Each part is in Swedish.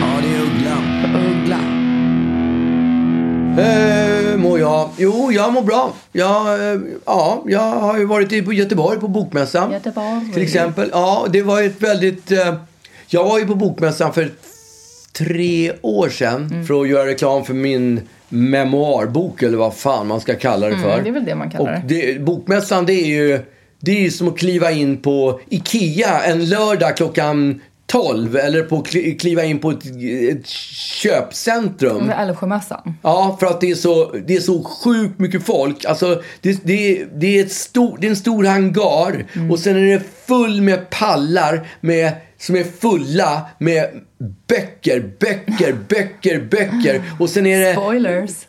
Ja, det är Uggla. Uggla. Eh, mår jag? Jo, jag mår bra. Jag, eh, ja, jag har ju varit i Göteborg på bokmässan. Göteborg. Till exempel. Ja, det var ju ett väldigt... Eh, jag var ju på bokmässan för tre år sedan Mm. för att göra reklam för min memoarbok eller vad fan man ska kalla det för. Mm, det är väl det man kallar Och det, bokmässan det är ju det är ju som att kliva in på IKEA en lördag klockan 12 eller på kli- kliva in på ett, ett köpcentrum. Med Älvsjömässan. Ja, för att det är så, det är så sjukt mycket folk. Alltså, det, det, det, är ett stor, det är en stor hangar och sen är det full med pallar med, som är fulla med böcker, böcker, böcker, böcker. Och sen är det... Spoilers.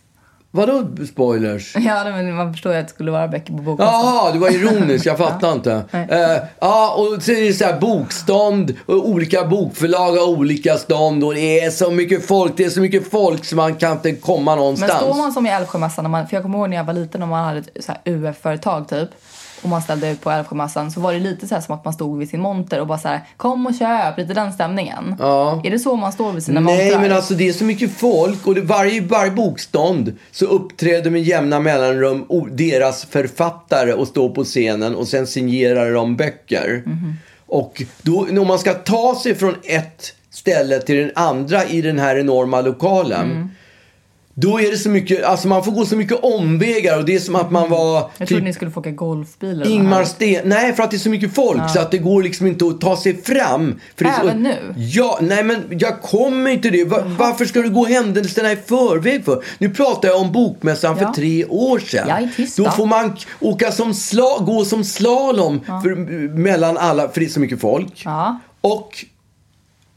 Vadå spoilers? Ja, men man förstår ju att det skulle vara böcker på boken. Jaha, det var ironiskt. Jag fattar inte. Nej. Eh, ja, och så är det så här bokstånd. Och olika bokförlag har olika stånd. Och det är så mycket folk. Det är så mycket folk så man kan inte komma Men någonstans. står man som i Älvsjömässan, när man, för jag kommer ihåg när jag var liten och man hade ett så här UF-företag typ och man ställde ut på Älvsjömässan så var det lite så här som att man stod vid sin monter och bara så här kom och köp, lite den stämningen. Ja. Är det så man står vid sina Nej, montrar? men alltså det är så mycket folk och det, varje, varje bokstånd så uppträder med jämna mellanrum o- deras författare och står på scenen och sen signerar de böcker. Mhm. Och då, om man ska ta sig från ett ställe till den andra i den här enorma lokalen Mm. Då är det så mycket, alltså man får gå så mycket omvägar och det är som att man var jag typ- trodde ni skulle få åka golfbil eller Ingmar något. Sten... Nej, för att det är så mycket folk så att det går liksom inte att ta sig fram. För det är så... Även nu? Ja, nej men jag kommer inte det. Va- Varför ska du gå händelserna i förväg för? Nu pratar jag om bokmässan Ja. för tre år sedan. Ja, i tisdag. Då får man k- åka som sla... gå som slalom för... mellan alla, för det är så mycket folk. Ja. Och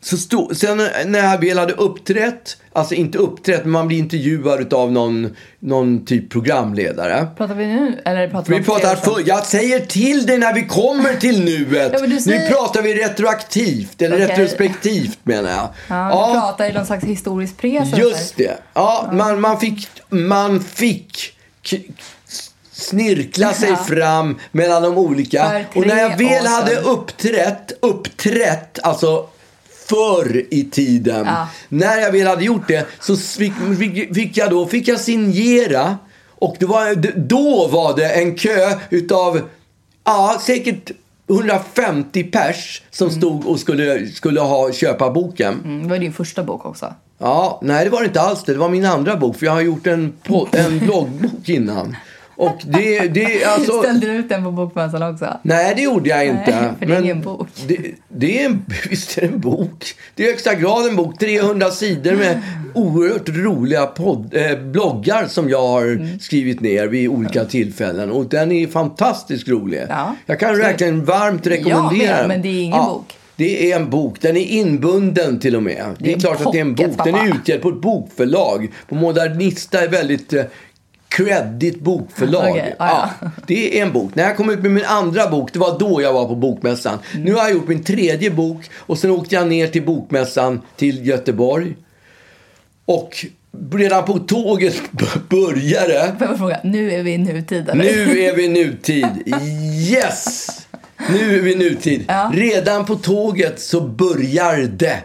så stod, sen när jag väl hade uppträtt, alltså inte uppträtt, men man blir intervjuad av någon, någon typ programledare. Pratar vi nu eller pratar Vi om tre pratar år sedan? för, jag säger till dig när vi kommer till nuet. Ja, men du Nu säger- pratar vi retroaktivt, eller Okej. retrospektivt menar jag. Ja, vi pratar i någon slags historisk presens. här. just det. Ja, Man, man fick, man fick k- snirkla sig Ja. fram mellan de olika. För Och när jag tre år väl sedan. hade uppträtt, uppträtt, alltså förr i tiden. Ja. När jag väl hade gjort det så fick, fick, fick jag då fick jag signera. Och det var, d- då var det en kö utav ja, säkert 150 pers som stod och skulle, skulle ha, köpa boken. Mm, det var ju din första bok också. Ja, nej det var det inte alls det. Det var min andra bok. För jag har gjort en, po- en bloggbok innan. Och det, det alltså... Ställde du ut den på bokmässan också? Nej, det gjorde jag inte. Nej, för det är ingen bok. Det, det är en, visst är det en bok. Det är i högsta grad en bok. 300 sidor med oerhört roliga podd, eh, bloggar som jag har Mm. skrivit ner vid olika tillfällen. Och den är fantastiskt rolig. Ja. Jag kan Ska- verkligen varmt rekommendera Ja, men- den. men det är ingen bok. Det är en bok. Den är inbunden till och med. Det är, är en klart att det är en pocket, bok. Den är pappa. utgett på ett bokförlag. På Modernista är väldigt eh, creddigt bokförlag. Okej, ja, ja. Det är en bok. När jag kom ut med min andra bok, det var då jag var på bokmässan. Mm. Nu har jag gjort min tredje bok och sen åkte jag ner till bokmässan till Göteborg. Och redan på tåget b- började det. Får jag fråga, nu är vi i nutid eller? Nu är vi nutid. Yes! Nu är vi nutid. Ja. Redan på tåget så börjar det.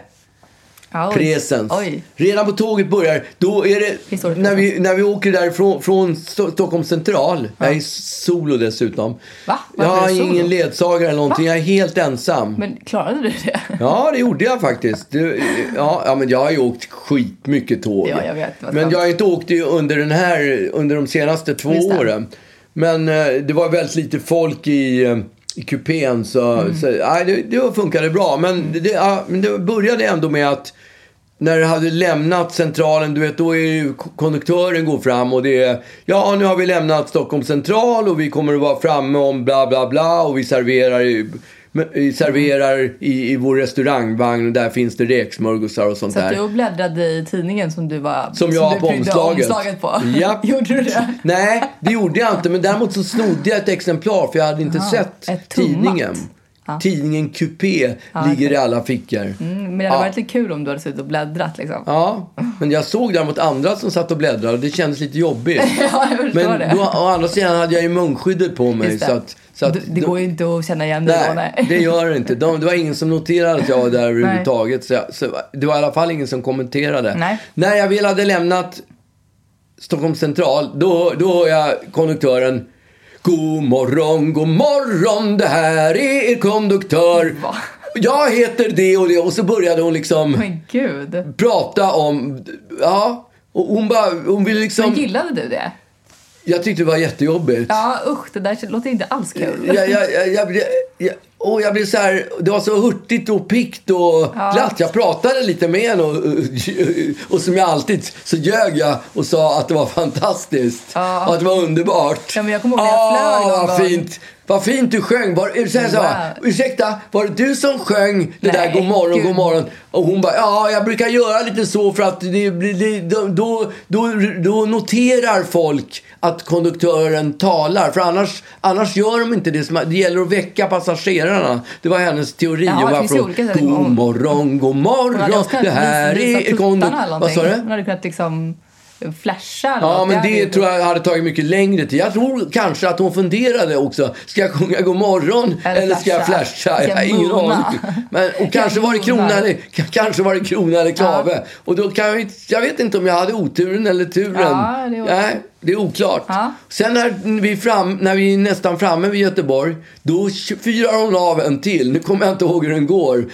Ja, oj. Presens. Oj. Redan på tåget börjar, då är det, Historisk när vi, när vi åker därifrån, från Sto- Stockholm central, jag är solo dessutom. Va? Jag Varför har är du solo? ingen ledsagare eller någonting, jag är helt ensam. Men klarade du det? Ja, det gjorde jag faktiskt. Du, ja, ja, men jag har ju åkt skitmycket tåg. Ja, jag vet. Vad men sant. jag har inte åkt det under, den här, under de senaste två Just det. åren. Men eh, det var väldigt lite folk i, eh, i kupén så, Mm. så nej, det, det funkade bra. Men det, ja, men det började ändå med att när det hade lämnat centralen, du vet, då är ju k- konduktören går fram och det är ja, nu har vi lämnat Stockholm central och vi kommer att vara framme om bla bla bla och vi serverar i, men- i- serverar i, i vår restaurangvagn och där finns det räksmörgåsar och sånt Så att där. du bläddrade i tidningen som du var... Som jag har du på prydde omslaget. omslaget på? Japp. Gjorde du det? Nej, det gjorde jag inte. Men däremot så snodde jag ett exemplar för jag hade inte sett ett tummat. tidningen. Tidningen Coupé ligger i alla fickor. Mm, Men det hade varit lite kul om du hade suttit och bläddrat liksom. Ja, men jag såg däremot andra som satt och bläddrade och det kändes lite jobbigt. Ja, jag förstår Men det. då, å andra sidan hade jag ju munskyddet på mig. Just det. Så att, så att, Du- det går ju inte att känna igen dig nej, då. Nej. det gör det inte. De, det var ingen som noterade att jag var där överhuvudtaget. Så jag, så det var i alla fall ingen som kommenterade. Nej. När jag väl hade lämnat Stockholm central, då, då hör jag konduktören God morgon, god morgon, det här är er konduktör. Va? Jag heter det och det. Och så började hon liksom Men gud. prata om, ja. Och hon bara, hon ville liksom... Men gillade du det? Jag tyckte det var jättejobbigt. Ja, usch. Det där låter inte alls kul. jag, jag, jag, jag, blev- jag, och jag blev så här, det var så hurtigt och pikt och glatt. Jag pratade lite med henne och, och som jag alltid så ljög jag och sa att det var fantastiskt Ja. och att det var underbart. Ja, men jag kommer ihåg när jag Ah, flög någon vad gång. fint. Vad fint du sjöng. Var, så här, så här, Wow. ursäkta, var det du som sjöng det Nej, där god morgon, gud. god morgon? Och hon bara, ja, jag brukar göra lite så för att det, blir- det, då, då, då, då noterar folk att konduktören talar. För annars, annars gör de inte det. Som, det gäller att väcka passagerarna. Det var hennes teori. Jaha, om det finns varför ju hon- olika sätt. god Hon- morgon, god Hon hade morgon. också kunnat Det här visa- visa är tuttarna eller konduktören. Vad sa någonting. du? Hon hade kunnat liksom flasha eller Ja, något. men hade det ju- tror jag hade tagit mycket längre tid. Jag tror kanske att hon funderade också. Ska jag sjunga god morgon eller, Eller ska jag flasha? flasha? Jag Ska har jag ingen mona? aning. Men, och kanske var det krona mona? eller, k- kanske var det krona eller klave. Och då kan jag, inte- jag vet inte om jag hade oturen eller turen. Ja, det är oklart. Nej, det är oklart. Ja. Sen när vi, är fram, när vi är nästan framme vid Göteborg, då k- fyrar hon av en till. Nu kommer jag inte ihåg hur den går.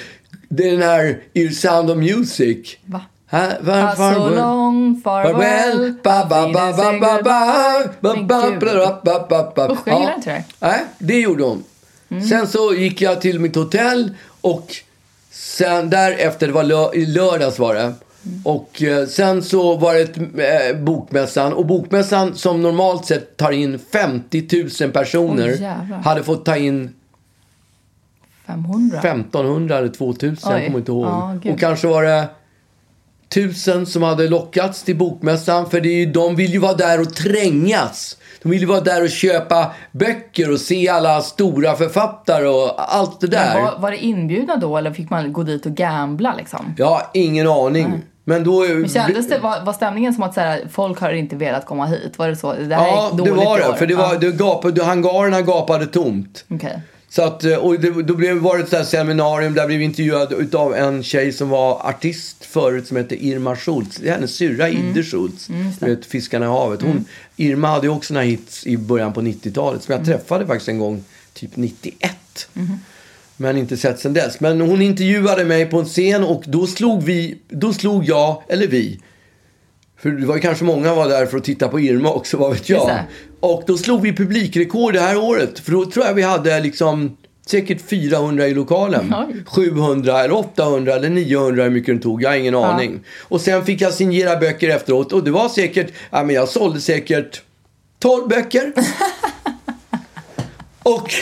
Det är den här Ear Sound of Music. Va? Ha, var, Ah, so long, farewell. Ba, ba, ba, ba, ba, ba, ba, Men ba, gud. ba, ba, ba, ba. Usch, jag gillar Ja. inte det. Mm. Nej, det gjorde hon. Sen så gick jag till mitt hotell och sen därefter, det var lö- i lördags var det. Mm. Och eh, sen så var det ett, eh, bokmässan och bokmässan som normalt sett tar in 50 000 personer Oj, jävlar. hade fått ta in 500? 1500 eller 2000, jag Oj. kommer inte ihåg. Ja, gud. och kanske var det tusen som hade lockats till bokmässan. För det är ju, de vill ju vara där och trängas. De vill ju vara där och köpa böcker och se alla stora författare och allt det där. Var, var det inbjudna då eller fick man gå dit och gambla liksom? Jag har ingen aning. Men då... Men Kändes det, var, var stämningen som att så här, folk har inte velat komma hit? Var det så? Det här är Ja, ett det dåligt var år. det. För det var, Ja. det gapade, hangarerna gapade tomt. Okej. Så att, eh, och det, då blev, var det ett sånt här seminarium där vi blev intervjuade utav en tjej som var artist förut som hette Irma Schultz. Det är hennes syrra Mm. Idde Schultz. du vet, Fiskarna i havet. Hon, Irma hade ju också några hits i början på 90-talet som jag Mm. träffade faktiskt en gång, typ 91. Mm-hmm. Men inte sett sen dess. Men hon intervjuade mig på en scen och då slog vi, då slog jag, eller vi, för det var ju kanske många var där för att titta på Irma också, vad vet Just jag. det. Och då slog vi publikrekord det här året. För då tror jag vi hade liksom säkert 400 i lokalen. Oj. 700 eller 800 eller 900 hur mycket den tog. Jag har ingen aning. Och sen fick jag signera böcker efteråt. Och det var säkert, ja men jag sålde säkert 12 böcker. och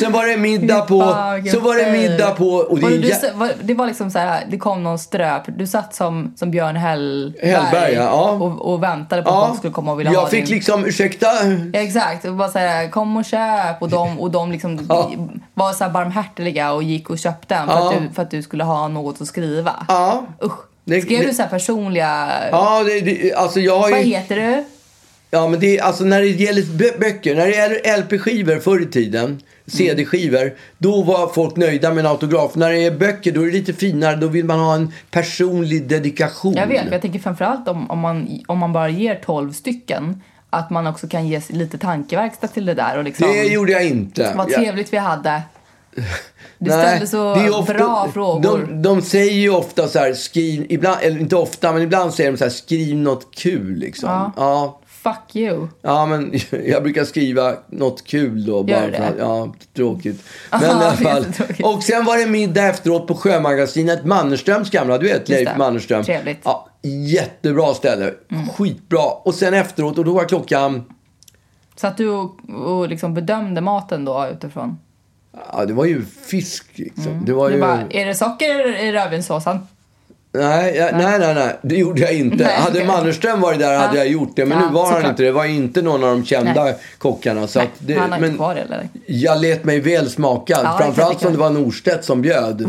sen var det middag på, Fan, vilken så var det fail. middag på. Och det var är det, en du, jä- sa- var, det var liksom så här, det kom någon ströp. Du satt som, som Björn Hellberg, Hellberg, ja, ja. Och, och väntade på att folk skulle komma och vilja jag ha fick din... liksom, ursäkta, Ja, exakt, och bara så här, kom och köp och de, och de liksom Ja. var så här barmhärtiga och gick och köpte den för, Ja. att, du, för att du skulle ha något att skriva. Ja. Usch. Det- Skrev det- du så här personliga... Ja, det, det, alltså jag har Vad ju... heter du? Ja, men det är, alltså när det gäller bö- böcker, när det gäller LP-skivor förr i tiden, CD-skivor, då var folk nöjda med en autograf. När det är böcker, då är det lite finare, då vill man ha en personlig dedikation. Jag vet, men jag tänker framförallt om, om, man, om man bara ger 12 stycken att man också kan ge lite tankeverkstad till det där och liksom Det gjorde jag inte. vad Jag- trevligt vi hade. Du Nej, ställde så det är ofta- bra frågor. De, de säger ju ofta så här, skriv, ibland, eller inte ofta, men ibland säger de så här, skriv något kul liksom. Ja. Ja. ja. Fuck you. men jag brukar skriva något kul då. Bara Gör det? För, att- ja, tråkigt. Men i Ja, alla fall. jättetråkigt. Och sen var det middag efteråt på Sjömagasinet, Mannerströms gamla, du vet Leif det. Mannerström. Trevligt. Mm. Ja, jättebra ställe, skitbra. Och sen efteråt, och då var klockan, Så att du och, och liksom bedömde maten då utifrån. ja det var ju fisk liksom. Det var Du ju... bara, är Mm. det socker i rödvinssåsen? Nej, jag, nej, nej, nej, det gjorde jag inte. Nej, hade okej. Mannerström varit där hade Ja. jag gjort det, men Ja, nu var han såklart. inte det. Det var inte någon av de kända Nej. kockarna. Så Nej, att det, han har men inte kvar det eller? jag lät mig väl smaka. det kan jag Framförallt tänka som det var Norstedt som bjöd.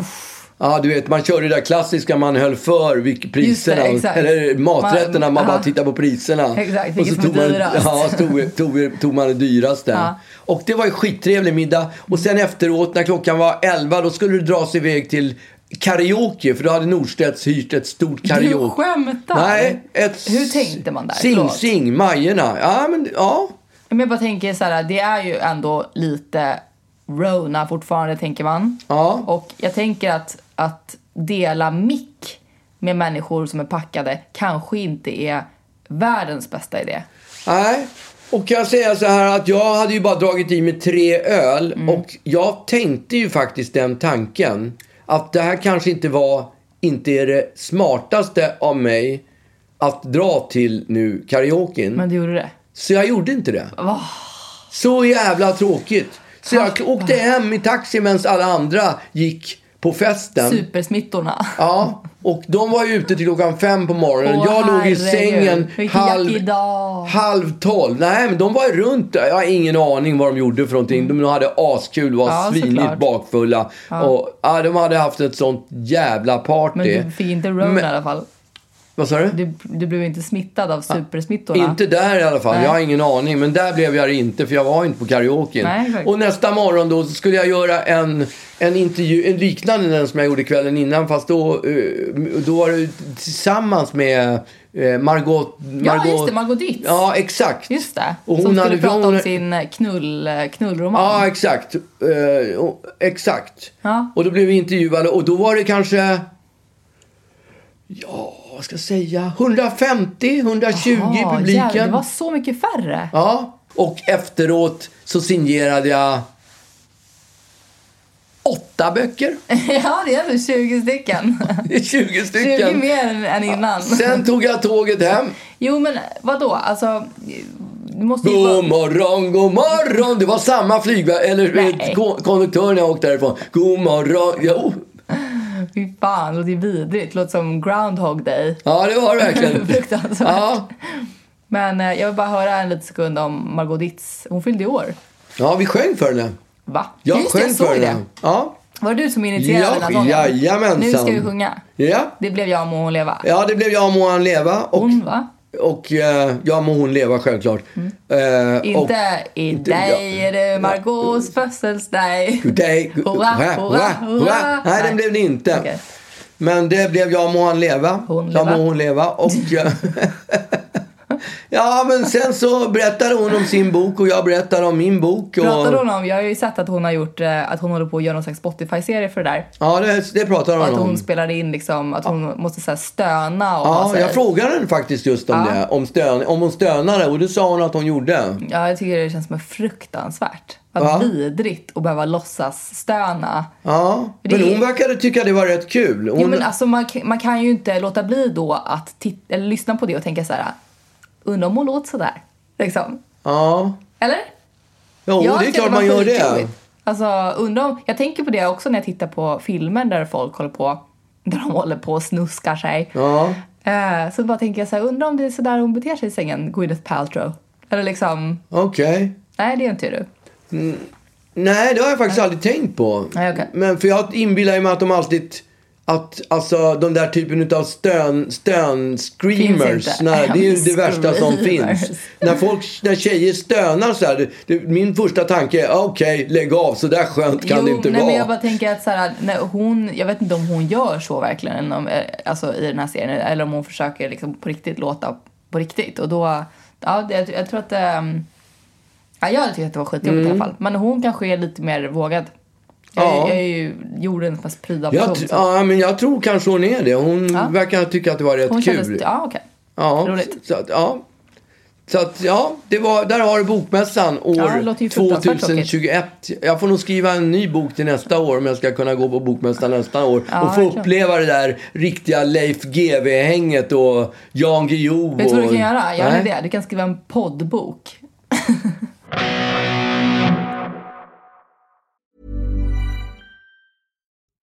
Ja, du vet, man körde det där klassiska, man höll för vilk- priserna, exakt. eller maträtterna, Man- man, bara ja. tittade på priserna. Exakt, och vilket så som är tog man, dyrast. ja, tog, tog, tog man det dyraste. Ja. Och det var ju skittrevlig middag. Och sen efteråt, när klockan var 11, då skulle det dras iväg till karaoke, för då hade Norstedts hyrt ett stort karaoke. Du skämtar? Nej, ett Hur tänkte man där? Sing Förlåt. Sing, Majorna. Ja, men ja. Men jag bara tänker så här, det är ju ändå lite Rona fortfarande tänker man. Ja. Och jag tänker att, att dela mick med människor som är packade kanske inte är världens bästa idé. Nej. Och kan jag säga så här att jag hade ju bara dragit i mig tre öl Mm. och jag tänkte ju faktiskt den tanken att det här kanske inte var, inte är det smartaste av mig att dra till nu karaoken. Men du gjorde det. Så jag gjorde inte det. Så jävla tråkigt. Så jag åkte hem i taxi medan alla andra gick på festen. Supersmittorna. Ja, och de var ju ute till klockan fem på morgonen. Åh, jag låg i herregud. sängen Vilken halv, jackig dag. halv tolv. Nej, men de var ju runt. Jag har ingen aning vad de gjorde för någonting. De hade askul och var Ja, såklart. svinigt bakfulla. Och, ja, de hade haft ett sånt jävla party. Men du fick inte Rona Men- i alla fall. Vad sa du? Du, du blev inte smittad av supersmittorna. Inte där i alla fall. Nej. Jag har ingen aning. Men där blev jag det inte för jag var inte på karaoken. Nej, exakt. och nästa morgon då så skulle jag göra en, en intervju, en liknande den som jag gjorde kvällen innan. Fast då, eh, då var det tillsammans med eh, Margot, Margot... Ja, just det. Margot Ditz. Ja, exakt. Just det. Och hon som skulle hade- prata om hon- sin eh, knull, knullroman. Ja, exakt. Eh, och- exakt. Ja. Och då blev vi intervjuade och då var det kanske... Ja, vad ska jag säga? 150, 120 i Ja, publiken. jävlar, det var så mycket färre. Ja, och efteråt så signerade jag åtta böcker. Ja, det är ändå 20 stycken. Det är 20 stycken. 20 mer än- än innan. Sen tog jag tåget hem. Jo, men eh, vadå? Alltså, du måste ju God vara... morgon, god morgon! Det var samma flygvärd, eller Nej. kon- konduktör när jag åkte därifrån. God morgon! oh. Jo, Fy fan, det låter ju vidrigt. Det låter som Groundhog Day. ja det var det verkligen. Fruktansvärt. Ja. Men eh, jag vill bara höra en liten sekund om Margot Ditz. Hon fyllde i år. ja, vi sjöng för henne. Va? Jag Just det, sjöng såg för det. henne. Ja. Var det du som initierade Ja, den här sången? jajamensan. Nu ska vi sjunga. Ja. Det blev jag, må hon leva. ja, det blev jag må han leva. Och, Hon, va? och eh, jag må hon leva självklart. Eh, och- Inte i Inte- dig är det Margaux födelsedag. Today, Hurra, hurra, hurra. Nej, den blev det inte. Okej. Men det blev Jag må han leva. Hon jag leva. må hon leva. Och, jag- ja, men sen så berättade hon om sin bok och jag berättade om min bok. Och, Pratade hon om, jag har ju sett att hon har gjort, eh, att hon håller på att göra någon slags Spotify-serie för det där. Ja, det, det pratade Och hon att hon om. spelade in liksom, att hon måste så här stöna och ha så Ja, här- jag frågade henne faktiskt just om Ja. det. Om, stön, om hon stönade och det sa hon att hon gjorde. Ja, jag tycker det känns som är fruktansvärt. Vad Va? vidrigt att behöva låtsas stöna. Ja, Det men är- hon verkade tycka det var rätt kul. Hon, Jo, men alltså man, kan- man kan ju inte låta bli då att tit- eller lyssna på det och tänka så här, undrar om hon låter så där. Liksom. Ja, Eller? jo, Jag det är tycker klart alltså, var man gör det. skitjobbigt. Alltså, undrar om, jag tänker på det också när jag tittar på filmer där folk håller på, där de håller på och snuskar sig. Ja. Eh, så bara tänker jag så här, undrar om det är så där hon beter sig i sängen, Gwyneth Paltrow. Eller liksom, Okej. nej det är inte du. Nej, det har jag faktiskt aldrig tänkt på. Nej, okej. Men för jag inbillar mig att de alltid att alltså den där typen av stön, stön Finns screamers, inte. nej, det är ju det värsta som Screamers. finns. När, folk, när tjejer stönar så här, det, det, min första tanke är okej, lägg av, så där skönt kan det inte nej, vara. Men jag bara tänker att så här, när hon, jag vet inte om hon gör så verkligen eller om, eh, alltså, i den här serien eller om hon försöker liksom, på riktigt låta på riktigt. Och då, ja, det, jag, jag tror att ehm, ja, jag hade tyckt att det var skitjobbigt i alla fall. Men hon kanske är lite mer vågad. Jag, är- Mm. Ja. jag är ju jordens mest pryda person. Jag, tr- så- ja, men jag tror kanske hon är det. Hon Ja. verkar tycka att det var rätt hon kul. kändes, ja okej. Ja, Roligt. Så, att, ja. Så att, ja, det var, där har du bokmässan år Ja, det låter ju fruktansvärt 2021. Jag får nog skriva en ny bok till nästa år om jag ska kunna gå på bokmässan nästa år. Ja, och få verkligen. uppleva det där riktiga Leif GW-hänget och Jan Guillou. Vet du vad du och- kan göra? Gör Nej. en idé. Du kan skriva en poddbok.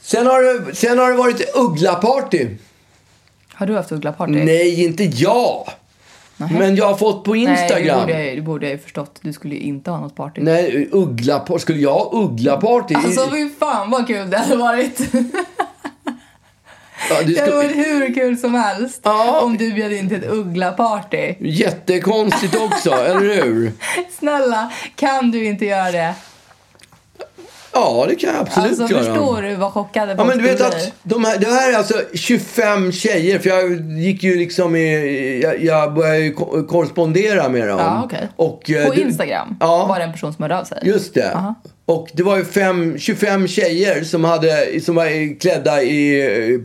Sen, har det, sen har det varit Uggla-party. Har du haft ugglaparty? Nej, inte jag. Nähä. Men jag har fått på Nej, det Instagram. borde, jag, ju- det borde jag ju förstått. Du skulle ju inte ha något party. Nej, uggla Skulle jag ha Uggla-party? Alltså fy fan vad kul det hade varit. Ja, du Det hade ska- varit hur kul som helst Ja. om du bjöd in till ett uggla-party. Jättekonstigt också, eller hur? Snälla, kan du inte göra det? Ja, det kan jag absolut Alltså göra. förstår du vad chockade Ja, folk men du vet skulle att bli? de här, det här är alltså 25 tjejer, för jag gick ju liksom i, jag, jag började ju ko- korrespondera med dem. Ja, okej. Och, eh, På det- Instagram ja. var det en person som hörde av sig. Just det. Aha. Och det var ju fem, 25 tjejer som, hade, som var klädda i eh,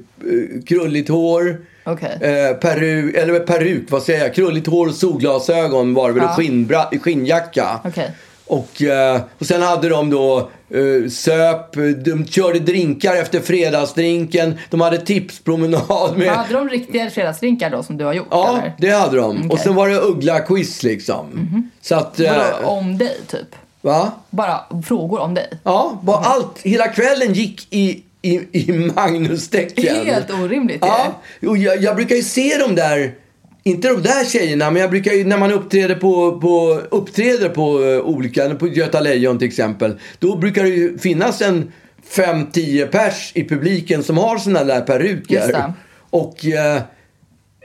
krulligt hår, Okej. eh, peru, eller peruk, vad säger jag, krulligt hår och solglasögon var det väl, Ja. och skinnbra, skinnjacka. Okej. Och, eh, och sen hade de då eh, söp, de körde drinkar efter fredagsdrinken, de hade tipspromenad med... Hade de riktiga fredagsdrinkar då som du har gjort Ja, eller? det hade de. Och Okej. Mhm. sen var det uggla-quiz liksom. Så att... eh, Vadå, om dig typ? va? Bara frågor om dig? Ja, bara Mhm. allt, hela kvällen gick i, i, i Magnus-tecken. Helt orimligt ju. Ja, och jag, jag brukar ju se de där, inte de där tjejerna, men jag brukar ju när man uppträder på, på, uppträder på eh, olika, på Göta Lejon till exempel, då brukar det ju finnas en 5-10 pers i publiken som har såna där peruker. Just det. Och eh,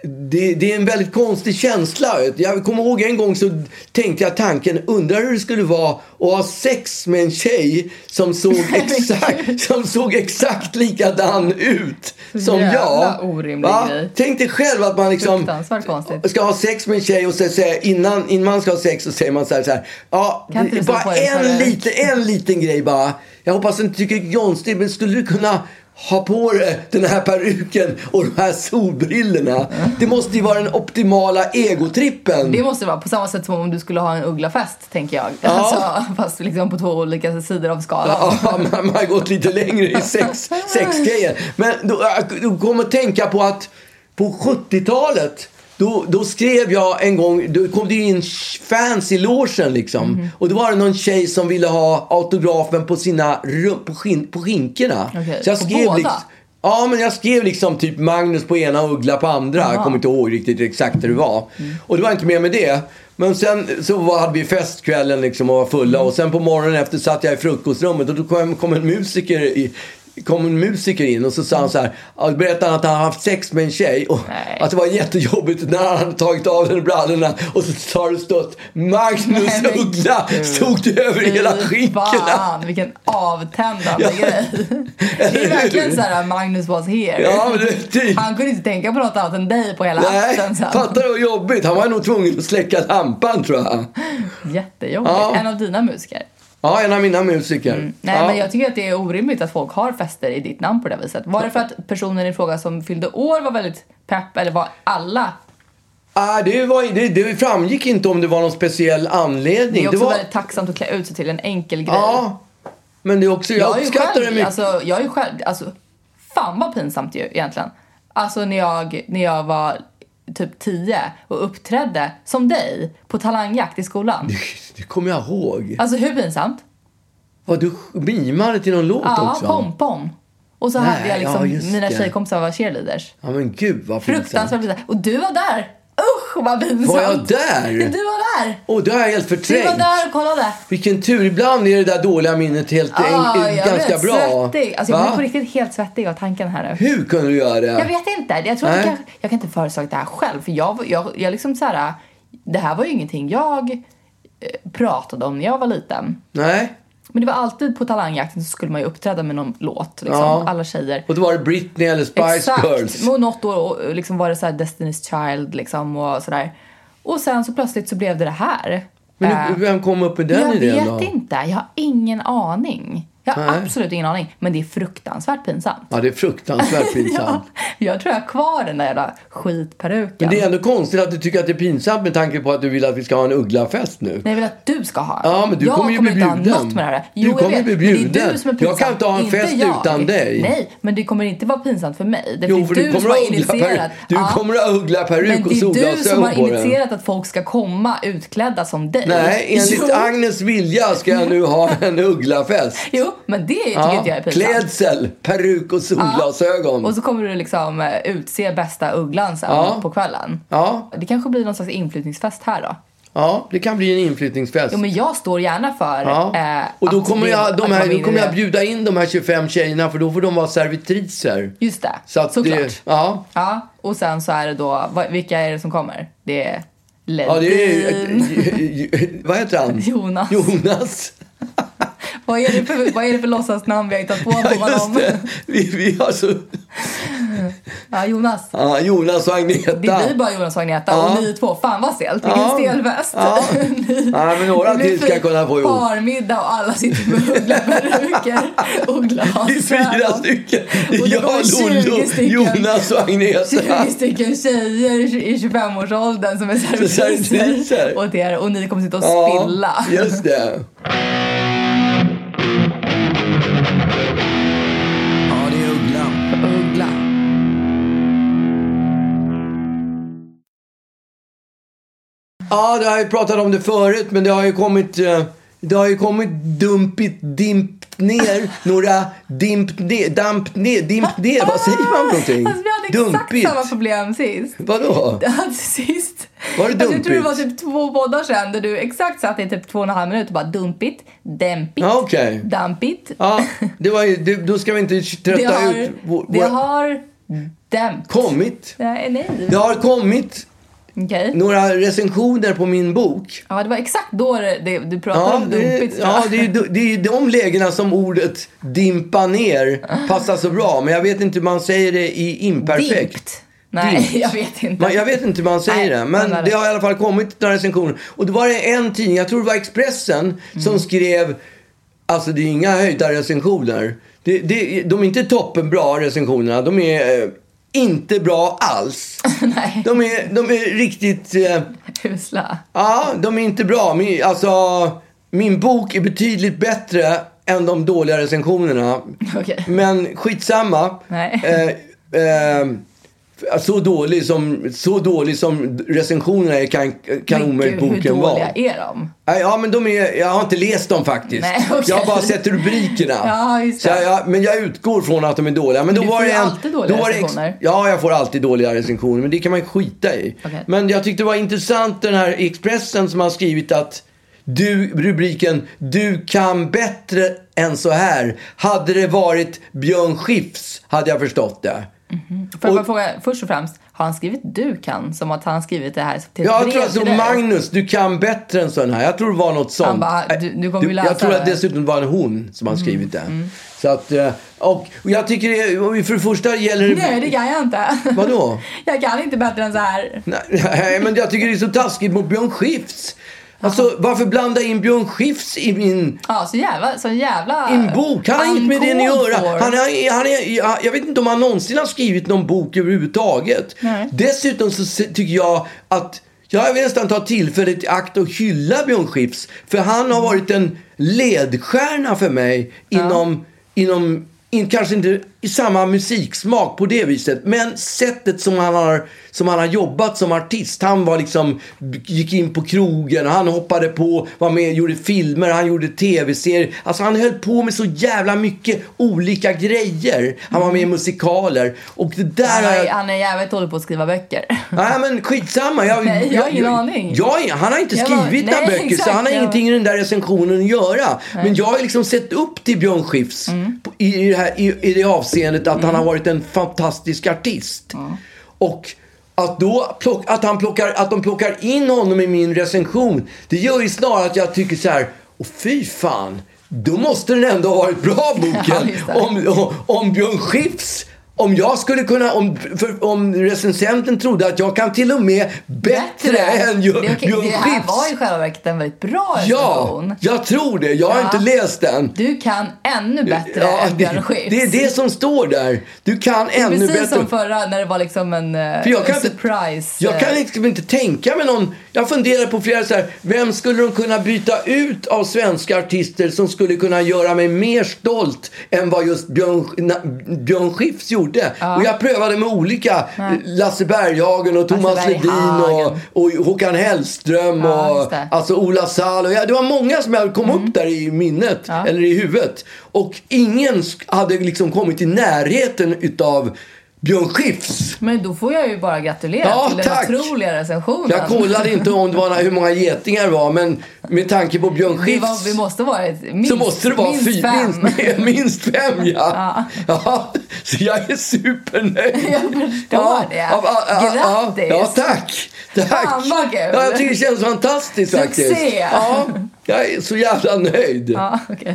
det, det är en väldigt konstig känsla. Jag kommer ihåg en gång så tänkte jag tanken, undrar hur det skulle vara att ha sex med en tjej som såg exakt, som såg exakt likadan ut som Jävla jag. orimlig Va? grej. Tänk dig själv att man liksom Fruktansvärt konstigt. ska ha sex med en tjej och sen säga innan, innan man ska ha sex så säger man så här, så här ja, Kan inte det- du slå på bara dig en förut? liten, en liten grej bara. Jag hoppas du inte tycker det är konstigt men skulle du kunna ha på dig den här peruken och de här solbrillorna. Det måste ju vara den optimala egotrippen. Mm. Det måste det vara på samma sätt som om du skulle ha en ugglafest tänker jag. Alltså, fast liksom på två olika sidor av skalan. Ja, man, man har gått lite längre i sex, sexgrejen. Men då, då kommer att tänka på att på 70-talet då, då skrev jag en gång, då kom det ju in fans i logen liksom. Mhm. Och då var det någon tjej som ville ha autografen på sina rum- på, skin, på skinkorna. Okej, Så jag på skrev båda? liksom, Ja, men jag skrev liksom typ Magnus på ena och Uggla på andra. Jag kommer inte ihåg riktigt exakt hur det var. Mm. Och det var inte mer med det. Men sen så var, hade vi festkvällen liksom och var fulla. Mm. Och sen på morgonen efter satt jag i frukostrummet och då kom, kom en musiker i, kom en musiker in och så sa han så här, ja, berättade han att han hade haft sex med en tjej och Nej. att det var jättejobbigt när han hade tagit av den brallorna och så har det stått Magnus Nej, men Uggla stod det över hela Fy skinkorna. Fan, vilken avtändande Ja. grej. Det är Eller hur? verkligen så här, Magnus was here. Ja, men det är typ. Han kunde inte tänka på något annat än dig på hela Nej, akten sen. fattar du vad jobbigt? Han var nog tvungen att släcka lampan tror jag. Jättejobbigt. Ja. En av dina musiker. Ja, en av mina musiker. Mm, Nej, ja. men jag tycker att det är orimligt att folk har fester i ditt namn på det här viset. Var det för att personen i fråga som fyllde år var väldigt pepp eller var alla? Ah, det, var, det, det framgick inte om det var någon speciell Det anledning. är också var... väldigt tacksamt att klä ut sig till en enkel grej. Ja, men det är också, jag, jag är ju uppskattar det själv, mycket. alltså, jag är ju själv, alltså, fan vad pinsamt ju egentligen. Alltså när jag, när jag var typ 10 och uppträdde som dig på talangjakt i skolan. Det kommer jag ihåg. Alltså hur pinsamt? Vad du mimade till någon låt Ja, också. pom-pom. Och så Nej, hade jag ja, liksom, just mina det. tjejkompisar var cheerleaders. Ja, men gud vad pinsamt. Fruktansvärt pinsamt. Och du var där! Usch vad pinsamt! Var jag där? Du var där! Åh, det har jag helt Du förträngt. var där och kollade. Vilken tur. Ibland är det där dåliga minnet helt Ah, en, jag ganska blev bra. Svettig. Alltså, jag Va? blev på riktigt helt svettig av tanken här nu. Hur kunde du göra det? Jag vet inte. Jag tror Nej. att jag, kanske- jag kan inte föreslå det här själv. För jag, var- jag, jag liksom så här, det här var ju ingenting jag eh, pratade om när jag var liten. Nej. Men det var alltid på talangjakten så skulle man ju uppträda med någon låt. Liksom, Ja. Alla tjejer. Och då var det Britney eller Spice Girls. Och något år och, liksom, var det så här Destiny's Child liksom, och sådär. Och sen så plötsligt så blev det det här. Eh, Men du, vem kom upp med den jag idén vet då? inte. Jag har ingen aning. Jag har Nej. absolut ingen aning. Men det är fruktansvärt pinsamt. Ja, det är fruktansvärt pinsamt. Ja, jag tror jag har kvar den där jävla skitperuken. Men det är ändå konstigt att du tycker att det är pinsamt med tanke på att du vill att vi ska ha en ugglafest nu. Nej, jag vill att du ska ha. Ja, men du jag kommer ju bli inte ha bjuden. något med det här. Du kommer jag bli vet, men Det är bjuden. du som är Jag pinsam, kan inte ha en inte fest jag. utan dig. Nej, men det kommer inte vara pinsamt för mig. Det är Jo, för du, du kommer som har att ha ugglaperuk. initierat. Du Ja, kommer att ha men ugglaperuk och det är du som solglasögon har på den. initierat att folk ska komma utklädda som dig. Nej, enligt jo, Agnes vilja ska jag nu ha en ugglafest. jo, men det tycker inte jag är pinsamt. klädsel, peruk och solglasögon. Och så kommer du liksom eh, utse bästa ugglan sen Ja. på kvällen. Ja, Det kanske blir någon slags inflyttningsfest här då. ja, det kan bli en inflyttningsfest. Jo men jag står gärna för Ja. eh, och då att kommer, det- jag, de här, att komma in då i kommer det. jag bjuda in de här 25 tjejerna för då får de vara servitriser. Just det, Så att såklart. det, ja. Ja, och sen så är det då, vad- vilka är det som kommer? Det är Ledin, ja, det är Vad heter han? Jonas. Jonas. vad, är det för, vad är det för låtsasnamn vi har hittat på på Ja, just honom? det. Vi, vi har så... Ja, Jonas. Ja, Jonas och Agneta. Det blir bara Jonas och Agneta Ja. och ni två. Fan vad stelt, vilken Ja. stel väst. Ja. Ja, men några Det blir till ska fint kunna få ihop. Parmiddag och alla sitter med ugglaperuker och glasögon. Det är fyra stycken. Det Och är det jag, kommer 20 Lollo, stycken. Jonas och Agneta. 20 stycken tjejer i 25-årsåldern som är servitriser servitriser. åt er och ni kommer sitta och Ja, spilla. just det. Ja, det är Uggla. Uggla. Ja, det har jag ju pratat om det förut, men det har ju kommit... eh, Det har ju kommit dumpigt dimpt ner, några dimpt ner, damp ner, dimpt ner, vad säger man för någonting? Alltså, vi hade exakt samma problem sist. Vadå? Alltså, sist. Var det Alltså, jag tror det dumpigt? var typ två poddar sedan där du exakt satt i typ två och en halv minut och bara dumpigt, dämpigt, Ja, okej. dampigt. Ja, det var ju, det, då ska vi inte det trötta har, ut vår, det vår- har dämpt. kommit. Nej, nej. Det har kommit Okej. några recensioner på min bok. Ja, det var exakt då det, det, du pratade Ja, om det, dumpigt. tror ja jag. det, är, ju- det är ju de lägena som ordet dimpa ner Ah. passar så bra. Men jag vet inte hur man säger det i imperfekt. Dimpt. Nej, Dimpt. jag vet inte. Man, jag vet inte hur man säger Nej, det. men vad Men det- det har i alla fall kommit några recensioner. Och då var det en tidning, jag tror det var Expressen, Mm. som skrev Alltså det är inga höjda recensioner. Det, det, de är inte toppenbra recensionerna. De är eh, inte bra alls. Nej. De är, de är riktigt... Eh, Usla. Ja, de är inte bra. Min, alltså, min bok är betydligt bättre än de dåliga recensionerna. Okej. Men skitsamma. Nej. Eh, eh, Så dålig som, så dålig som recensionerna är kan, kan Men omöjligt gud, boken hur vara. dåliga är de? Nej, Ja, men de är, jag har inte läst dem faktiskt. Nej, okej. Jag har bara sett rubrikerna. Ja, just Så det. jag, jag, men jag utgår från att de är dåliga. Men då du var får det ju en, alltid dåliga då var det ex- recensioner. Ja, jag får alltid dåliga recensioner. Men det kan man ju skita i. Okej. Men jag tyckte det var intressant den här Expressen som har skrivit att du, rubriken Du kan bättre än så här. Hade det varit Björn Skifs hade jag förstått det. Får jag Och- bara fråga, först och främst, har han skrivit du kan? Som att han skrivit det här till ett Ja, jag brev tror att det till var dig? Magnus, du kan bättre än sån här. Jag tror det var något sånt. Han bara, "Ah, du- du kommer ju läsa jag tror att det. Mm, dessutom det var en hon som har skrivit det. Så att, eh, och, och jag tycker, det- och för det första gäller det... Nej, det kan jag inte. Vadå? Jag kan inte bättre än så här. Nej, Nej, men jag tycker det är så taskigt mot Björn Skifs. Alltså, varför blanda in Björn Skifs i min... Ja, så jävla... Så jävla i en bok. Han har inget med det att uncalled göra. for. Han är, han är, jag- jag vet inte om han någonsin har skrivit någon bok överhuvudtaget. Nej. Dessutom så se- tycker jag att jag vill nästan ta tillfället i akt och hylla Björn Skifs. För han har varit en ledstjärna för mig inom, inom in, kanske inte i samma musiksmak på det viset, men sättet som han, har, som han har jobbat som artist. Han var liksom, gick in på krogen, han hoppade på, var med, gjorde filmer, han gjorde tv-serier. Alltså han höll på med så jävla mycket olika grejer. Han var med i musikaler. Och det där Han har är, jag- han är jävligt dålig på att skriva böcker. Nej men skitsamma. Jag, Nej, jag har ingen aning. jag- han har inte Jag bara- skrivit några nej, böcker så exakt, han har jag- ingenting i den där recensionen att göra. Men jag har liksom sett upp till Björn Skifs Mm. på- i, i, det här, i, i det avseendet att han har varit en fantastisk artist. Och att, då plock, att, han plockar, att de plockar in honom i min recension, det gör ju snarare att jag tycker så här, åh fy fan. Då måste den ändå ha varit bra Ja, boken just det. om, om, om Björn Skifs om jag skulle kunna, om, för, om recensenten trodde att jag kan till och med bättre, än Det är Björ- okej. Björn Det här var i Skifs. själva verket en väldigt bra Ja, recension. jag tror det. Jag har Ja. inte läst den. Du kan ännu bättre Ja, än det, Björn Skifs. det är det som står där. Du kan ännu Precis bättre. som förra när det var liksom en, eh, För jag kan inte- surprise. Jag kan eh, liksom inte tänka mig någon. Jag funderar på flera så här. Vem skulle de kunna byta ut av svenska artister som skulle kunna göra mig mer stolt än vad just Björn, na, Björn Skifs gjorde? Och jag prövade med olika. Lasse Berghagen och Thomas Ledin och, Berghagen. och Håkan Hellström Ja, just och det. Mm. alltså Ola Salo. Ja, det var många som jag kom upp där i minnet eller i huvudet. Och ingen sk- hade liksom kommit i närheten utav Björn Skifs. Men då får jag ju bara gratulera Ja, till tack. den otroliga recensionen. Jag kollade inte om det var hur många getingar det var, men med tanke på Björn Vi, var, Skifs vi måste vara ett, minst, så måste det vara minst fy- fem. minst, minst fem, ja. ja. Så jag är supernöjd. Jag förstår det. Grattis. Ja, tack. Tack. Fan, vad kul. Ja, jag tycker det känns fantastiskt Succé. faktiskt. Ja, jag är så jävla nöjd. Ja, okej.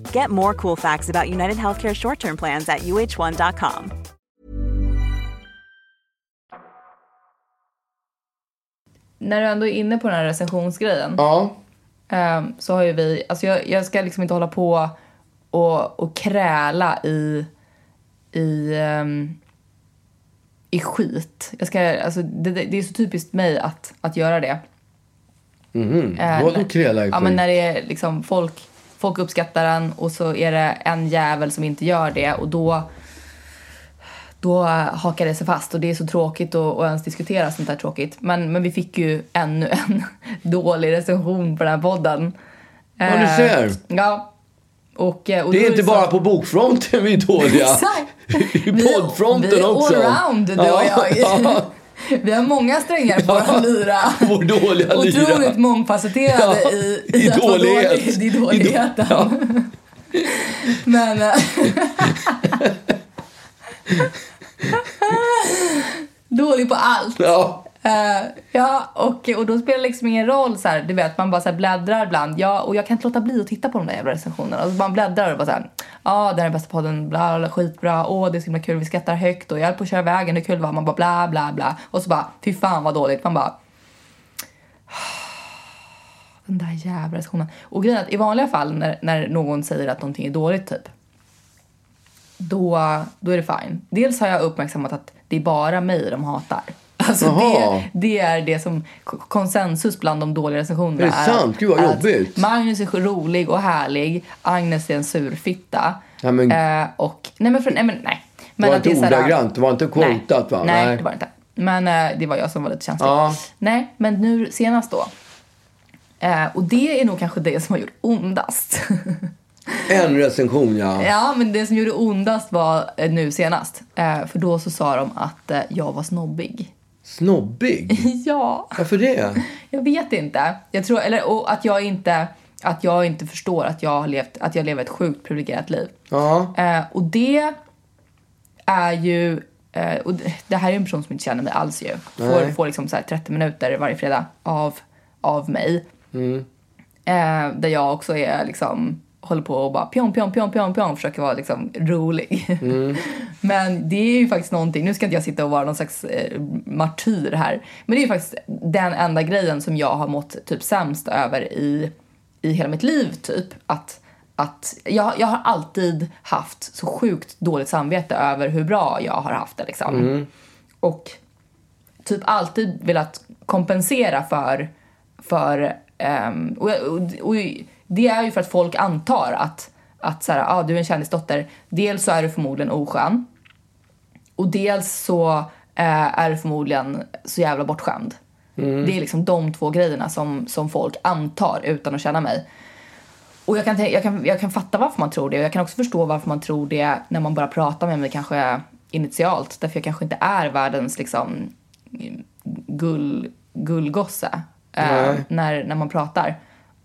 Get more cool facts about United Healthcare short term plans at uh1.com. När du ändå är inne på den här recensionsgrejen. Ja. Ehm, så har ju vi, alltså jag, jag ska liksom inte hålla på och, och kräla i, i, ehm, i skit. Jag ska, alltså, det, det det är så typiskt mig att, att göra det. Eh, vadå när- kräla i Ja, skit? men när det är liksom folk, folk uppskattar den och så är det en jävel som inte gör det och då då eh, hakar det sig fast och det är så tråkigt att att ens diskutera sånt där tråkigt. Men, men vi fick ju ännu en dålig recension på den här podden. Ja, du ser. Eh, Ja. Och, eh, och Det då är inte så- bara på bokfronten vi är dåliga. Exakt. I Vi är- poddfronten vi är också. allround, du och jag. Vi har många strängar på Ja. vår lyra. Vår dåliga lyra. Otroligt mångfacetterade Ja, i, i att vara dålighet. Dålig, i I då- dåligheten. Ja. Men... eh, dålig på allt. Ja. Eh, ja, och, och då spelar det liksom ingen roll. Så här, du vet, man bara så här bläddrar ibland. Ja, och jag kan inte låta bli att titta på de där jävla recensionerna. Och så man bläddrar och bara så här. Ja, ah, det här är bästa podden. Bla, bla, skitbra. Åh, det är så himla kul. Vi skrattar högt. Och jag höll på att köra vägen. Hur kul det var. Man bara bla, bla, bla. Och så bara, fy fan vad dåligt. Man bara... Den där jävla recensionen. Och grejen är att i vanliga fall när, när någon säger att någonting är dåligt typ då, då är det fine. Dels har jag uppmärksammat att det är bara mig de hatar. Alltså Jaha. det, det är det som k- konsensus bland de dåliga recensionerna Är det sant? Gud, vad att jobbigt. Magnus är rolig och härlig, Agnes är en surfitta. Ja, men- eh, och, nej men, för, nej men nej. Men var att inte är så här- ordagrant, det var inte quotat, nej, va? Nej, Nej. det var det inte. Men eh, det var jag som var lite känslig. Ja. Nej, men nu senast då. Eh, och det är nog kanske det som har gjort ondast. En recension, ja. Ja, men det som gjorde ondast var eh, nu senast. Eh, för då så sa de att eh, jag var snobbig. Snobbig. ja, Varför det? jag vet inte. Jag tror, eller och att jag inte, att jag inte förstår att jag har levt, att jag lever ett sjukt privilegierat liv. Ja. Eh, och det är ju, eh, och det- det här är ju en person som inte känner mig alls ju. Får, får liksom så här 30 minuter varje fredag av, av mig. Eh, där jag också är liksom, håller på och bara pjong, pjong, pjong, pjong, pjong, försöker vara liksom rolig. Men det är ju faktiskt någonting, nu ska inte jag sitta och vara någon slags eh, martyr här. Men det är ju faktiskt den enda grejen som jag har mått typ sämst över i, i hela mitt liv typ. Att, att jag, jag har alltid haft så sjukt dåligt samvete över hur bra jag har haft det liksom. Och typ alltid velat kompensera för... för ehm, och, och, och det är ju för att folk antar att, att så här, ah, du är en kändisdotter. Dels så är du förmodligen oskön. Och dels så eh, är du förmodligen så jävla bortskämd. Mm. Det är liksom de två grejerna som, som folk antar utan att känna mig. Och jag kan, tän- jag, kan, jag kan fatta varför man tror det och jag kan också förstå varför man tror det när man bara pratar med mig kanske initialt. Därför jag kanske inte är världens liksom gull, gullgosse eh, när, när man pratar.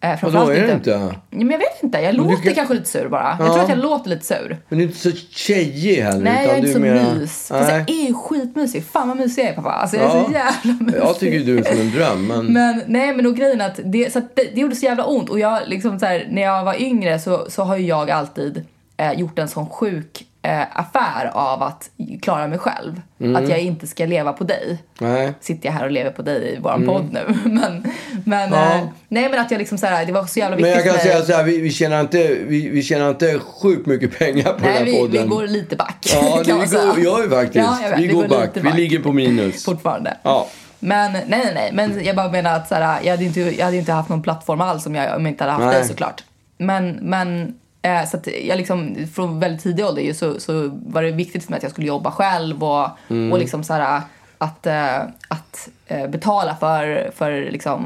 Eh, framförallt är det inte? Ja, Men jag vet inte, jag låter kan- kanske lite sur bara. Jag tror att jag låter lite sur. Men du är inte så tjejig heller. Nej, jag är Mm, utan inte så du mera- mys. Fast Nej. jag är ju skitmysig. Fan vad mysig jag är pappa. Alltså jag är så Ja. jävla mysig. Jag tycker du är som en dröm, men... Men nej men och grejen är att det, så att det, det gjorde så jävla ont och jag liksom så här, när jag var yngre så, så har ju jag alltid eh, gjort en sån sjuk eh, affär av att klara mig själv. Mm. Att jag inte ska leva på dig. Nej. Sitter jag här och lever på dig i Mm. våran podd nu. Men, men eh, nej men att jag liksom så här, det var så jävla Men viktigt jag kan för mig. säga så här, vi, vi, tjänar inte, vi, vi tjänar inte sjukt mycket pengar på den Nej, här vi, podden. vi går lite back. Ja, kan det man vi säga. går, gör vi faktiskt. Ja, jag vet, vi, går back. lite Vi ligger på minus. fortfarande. Ja. Men nej, nej, nej. Men jag bara menar att så här, jag, hade inte, jag hade inte haft någon plattform alls om jag, om jag inte hade haft Nej. dig såklart. Men, men eh, så att jag liksom, från väldigt tidig ålder ju, så, så var det viktigt för mig att jag skulle jobba själv och, Mm. och liksom så här, att, eh, att eh, betala för, för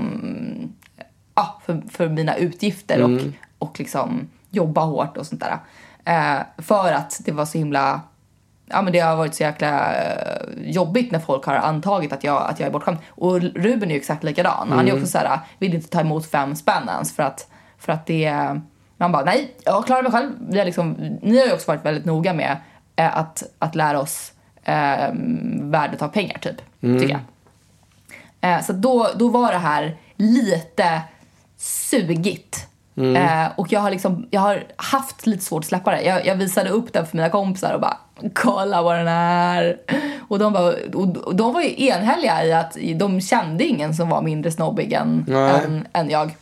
liksom ja, för, för mina utgifter Mm. och, och liksom jobba hårt och sånt där. Eh, för att det var så himla... Ja, men det har varit så jäkla eh, jobbigt när folk har antagit att jag, att jag är bortskämd. Och Ruben är ju exakt likadan. Han är också så här, eh, vill inte ta emot fem spänn ens för att, för att det... Man bara, nej, jag klarar mig själv. Vi har liksom, ni har ju också varit väldigt noga med eh, att, att lära oss eh, värdet av pengar, typ. Tycker jag. Eh, så då, då var det här lite sugigt. Eh, och jag har, liksom, jag har haft lite svårt att släppa det. Jag, jag visade upp den för mina kompisar och bara “kolla vad den är”. Och de, bara, och, och de var ju enhälliga i att de kände ingen som var mindre snobbig än, Nej. än, än jag.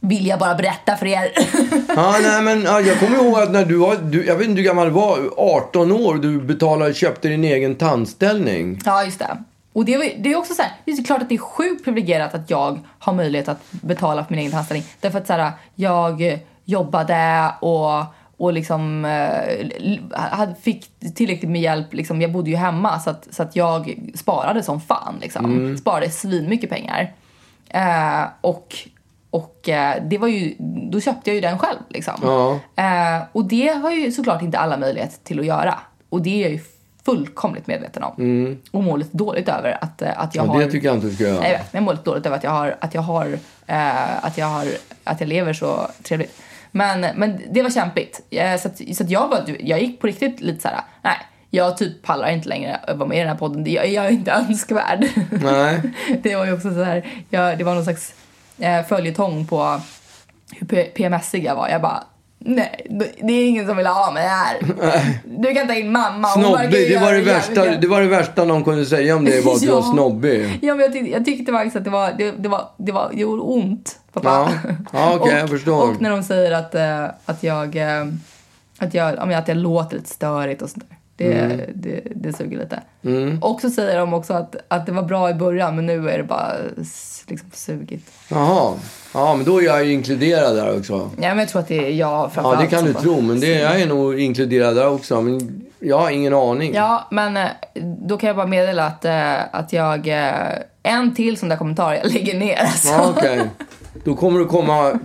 Vill jag bara berätta för er. Ja, nej, men, ja, jag kommer ihåg att när du var, du, jag vet inte hur gammal du var, 18 år, du betalade, köpte din egen tandställning. Ja, just det. Och det, var ju- det är också så här, det är klart att det är sjukt privilegierat att jag har möjlighet att betala för min egen tandställning. Därför att så här, jag jobbade och, och liksom, eh, l- hade- fick tillräckligt med hjälp. Liksom, jag bodde ju hemma så att, så att jag sparade som fan. Liksom. Sparade svinmycket pengar. Eh, och, Och eh, det var ju, då köpte jag ju den själv. Liksom. Ja. Eh, och det har ju såklart inte alla möjlighet till att göra. Och det är jag ju fullkomligt medveten om. Och mår lite dåligt över att, eh, att jag Mm. Ja, har... det tycker jag inte du ska göra. Nej, jag vet. Men jag mår lite dåligt över att jag har, att jag har, eh, att jag har, att jag lever så trevligt. Men, men det var kämpigt. Eh, så att, så att jag, var, jag gick på riktigt lite så här. nej, jag typ pallar inte längre att vara med i den här podden. Jag, jag är inte önskvärd. Nej. det var ju också så här, jag, det var någon slags eh, följetong på hur P- PMSig jag var. Jag bara, nej, det är ingen som vill ha mig här. Du kan ta in mamma. hon verkar ju Snobbig, det göra var det, jävligt värsta, bra." det var det värsta någon kunde säga om dig var att du var Ja. snobbig. Ja, men jag, tyckte, jag tyckte faktiskt att det var, det, det var, det var, det gjorde ont, pappa. Ja. Ja, okej, Och- jag förstår. Och när de säger att, eh, att jag, eh, att jag, ja, men att jag låter lite störigt och sånt där. Det, Mm. det, det suger lite. Och så säger de också att, att det var bra i början men nu är det bara s- liksom sugigt. Jaha. Ja, men då är jag ju inkluderad där också. Ja, men jag tror att det är jag Ja, framförallt det kan som du bara- tro, men det, jag är nog inkluderad där också. Men jag har ingen aning. Ja, men eh, då kan jag bara meddela att, eh, att jag... eh, En till sån där kommentar jag lägger ner. Alltså. Ja, okej. Då kommer det komma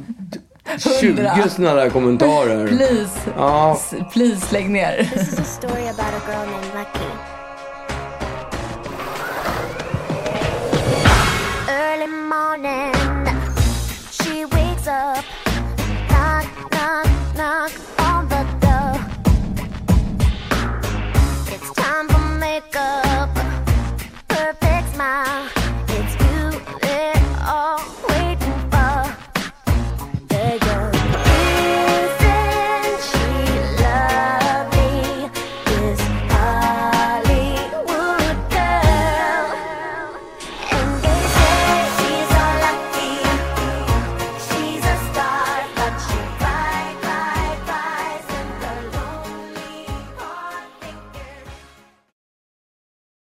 20 Hundra. sådana där kommentarer. Please, Ja, s- please lägg ner. This is a story about a girl named Lucky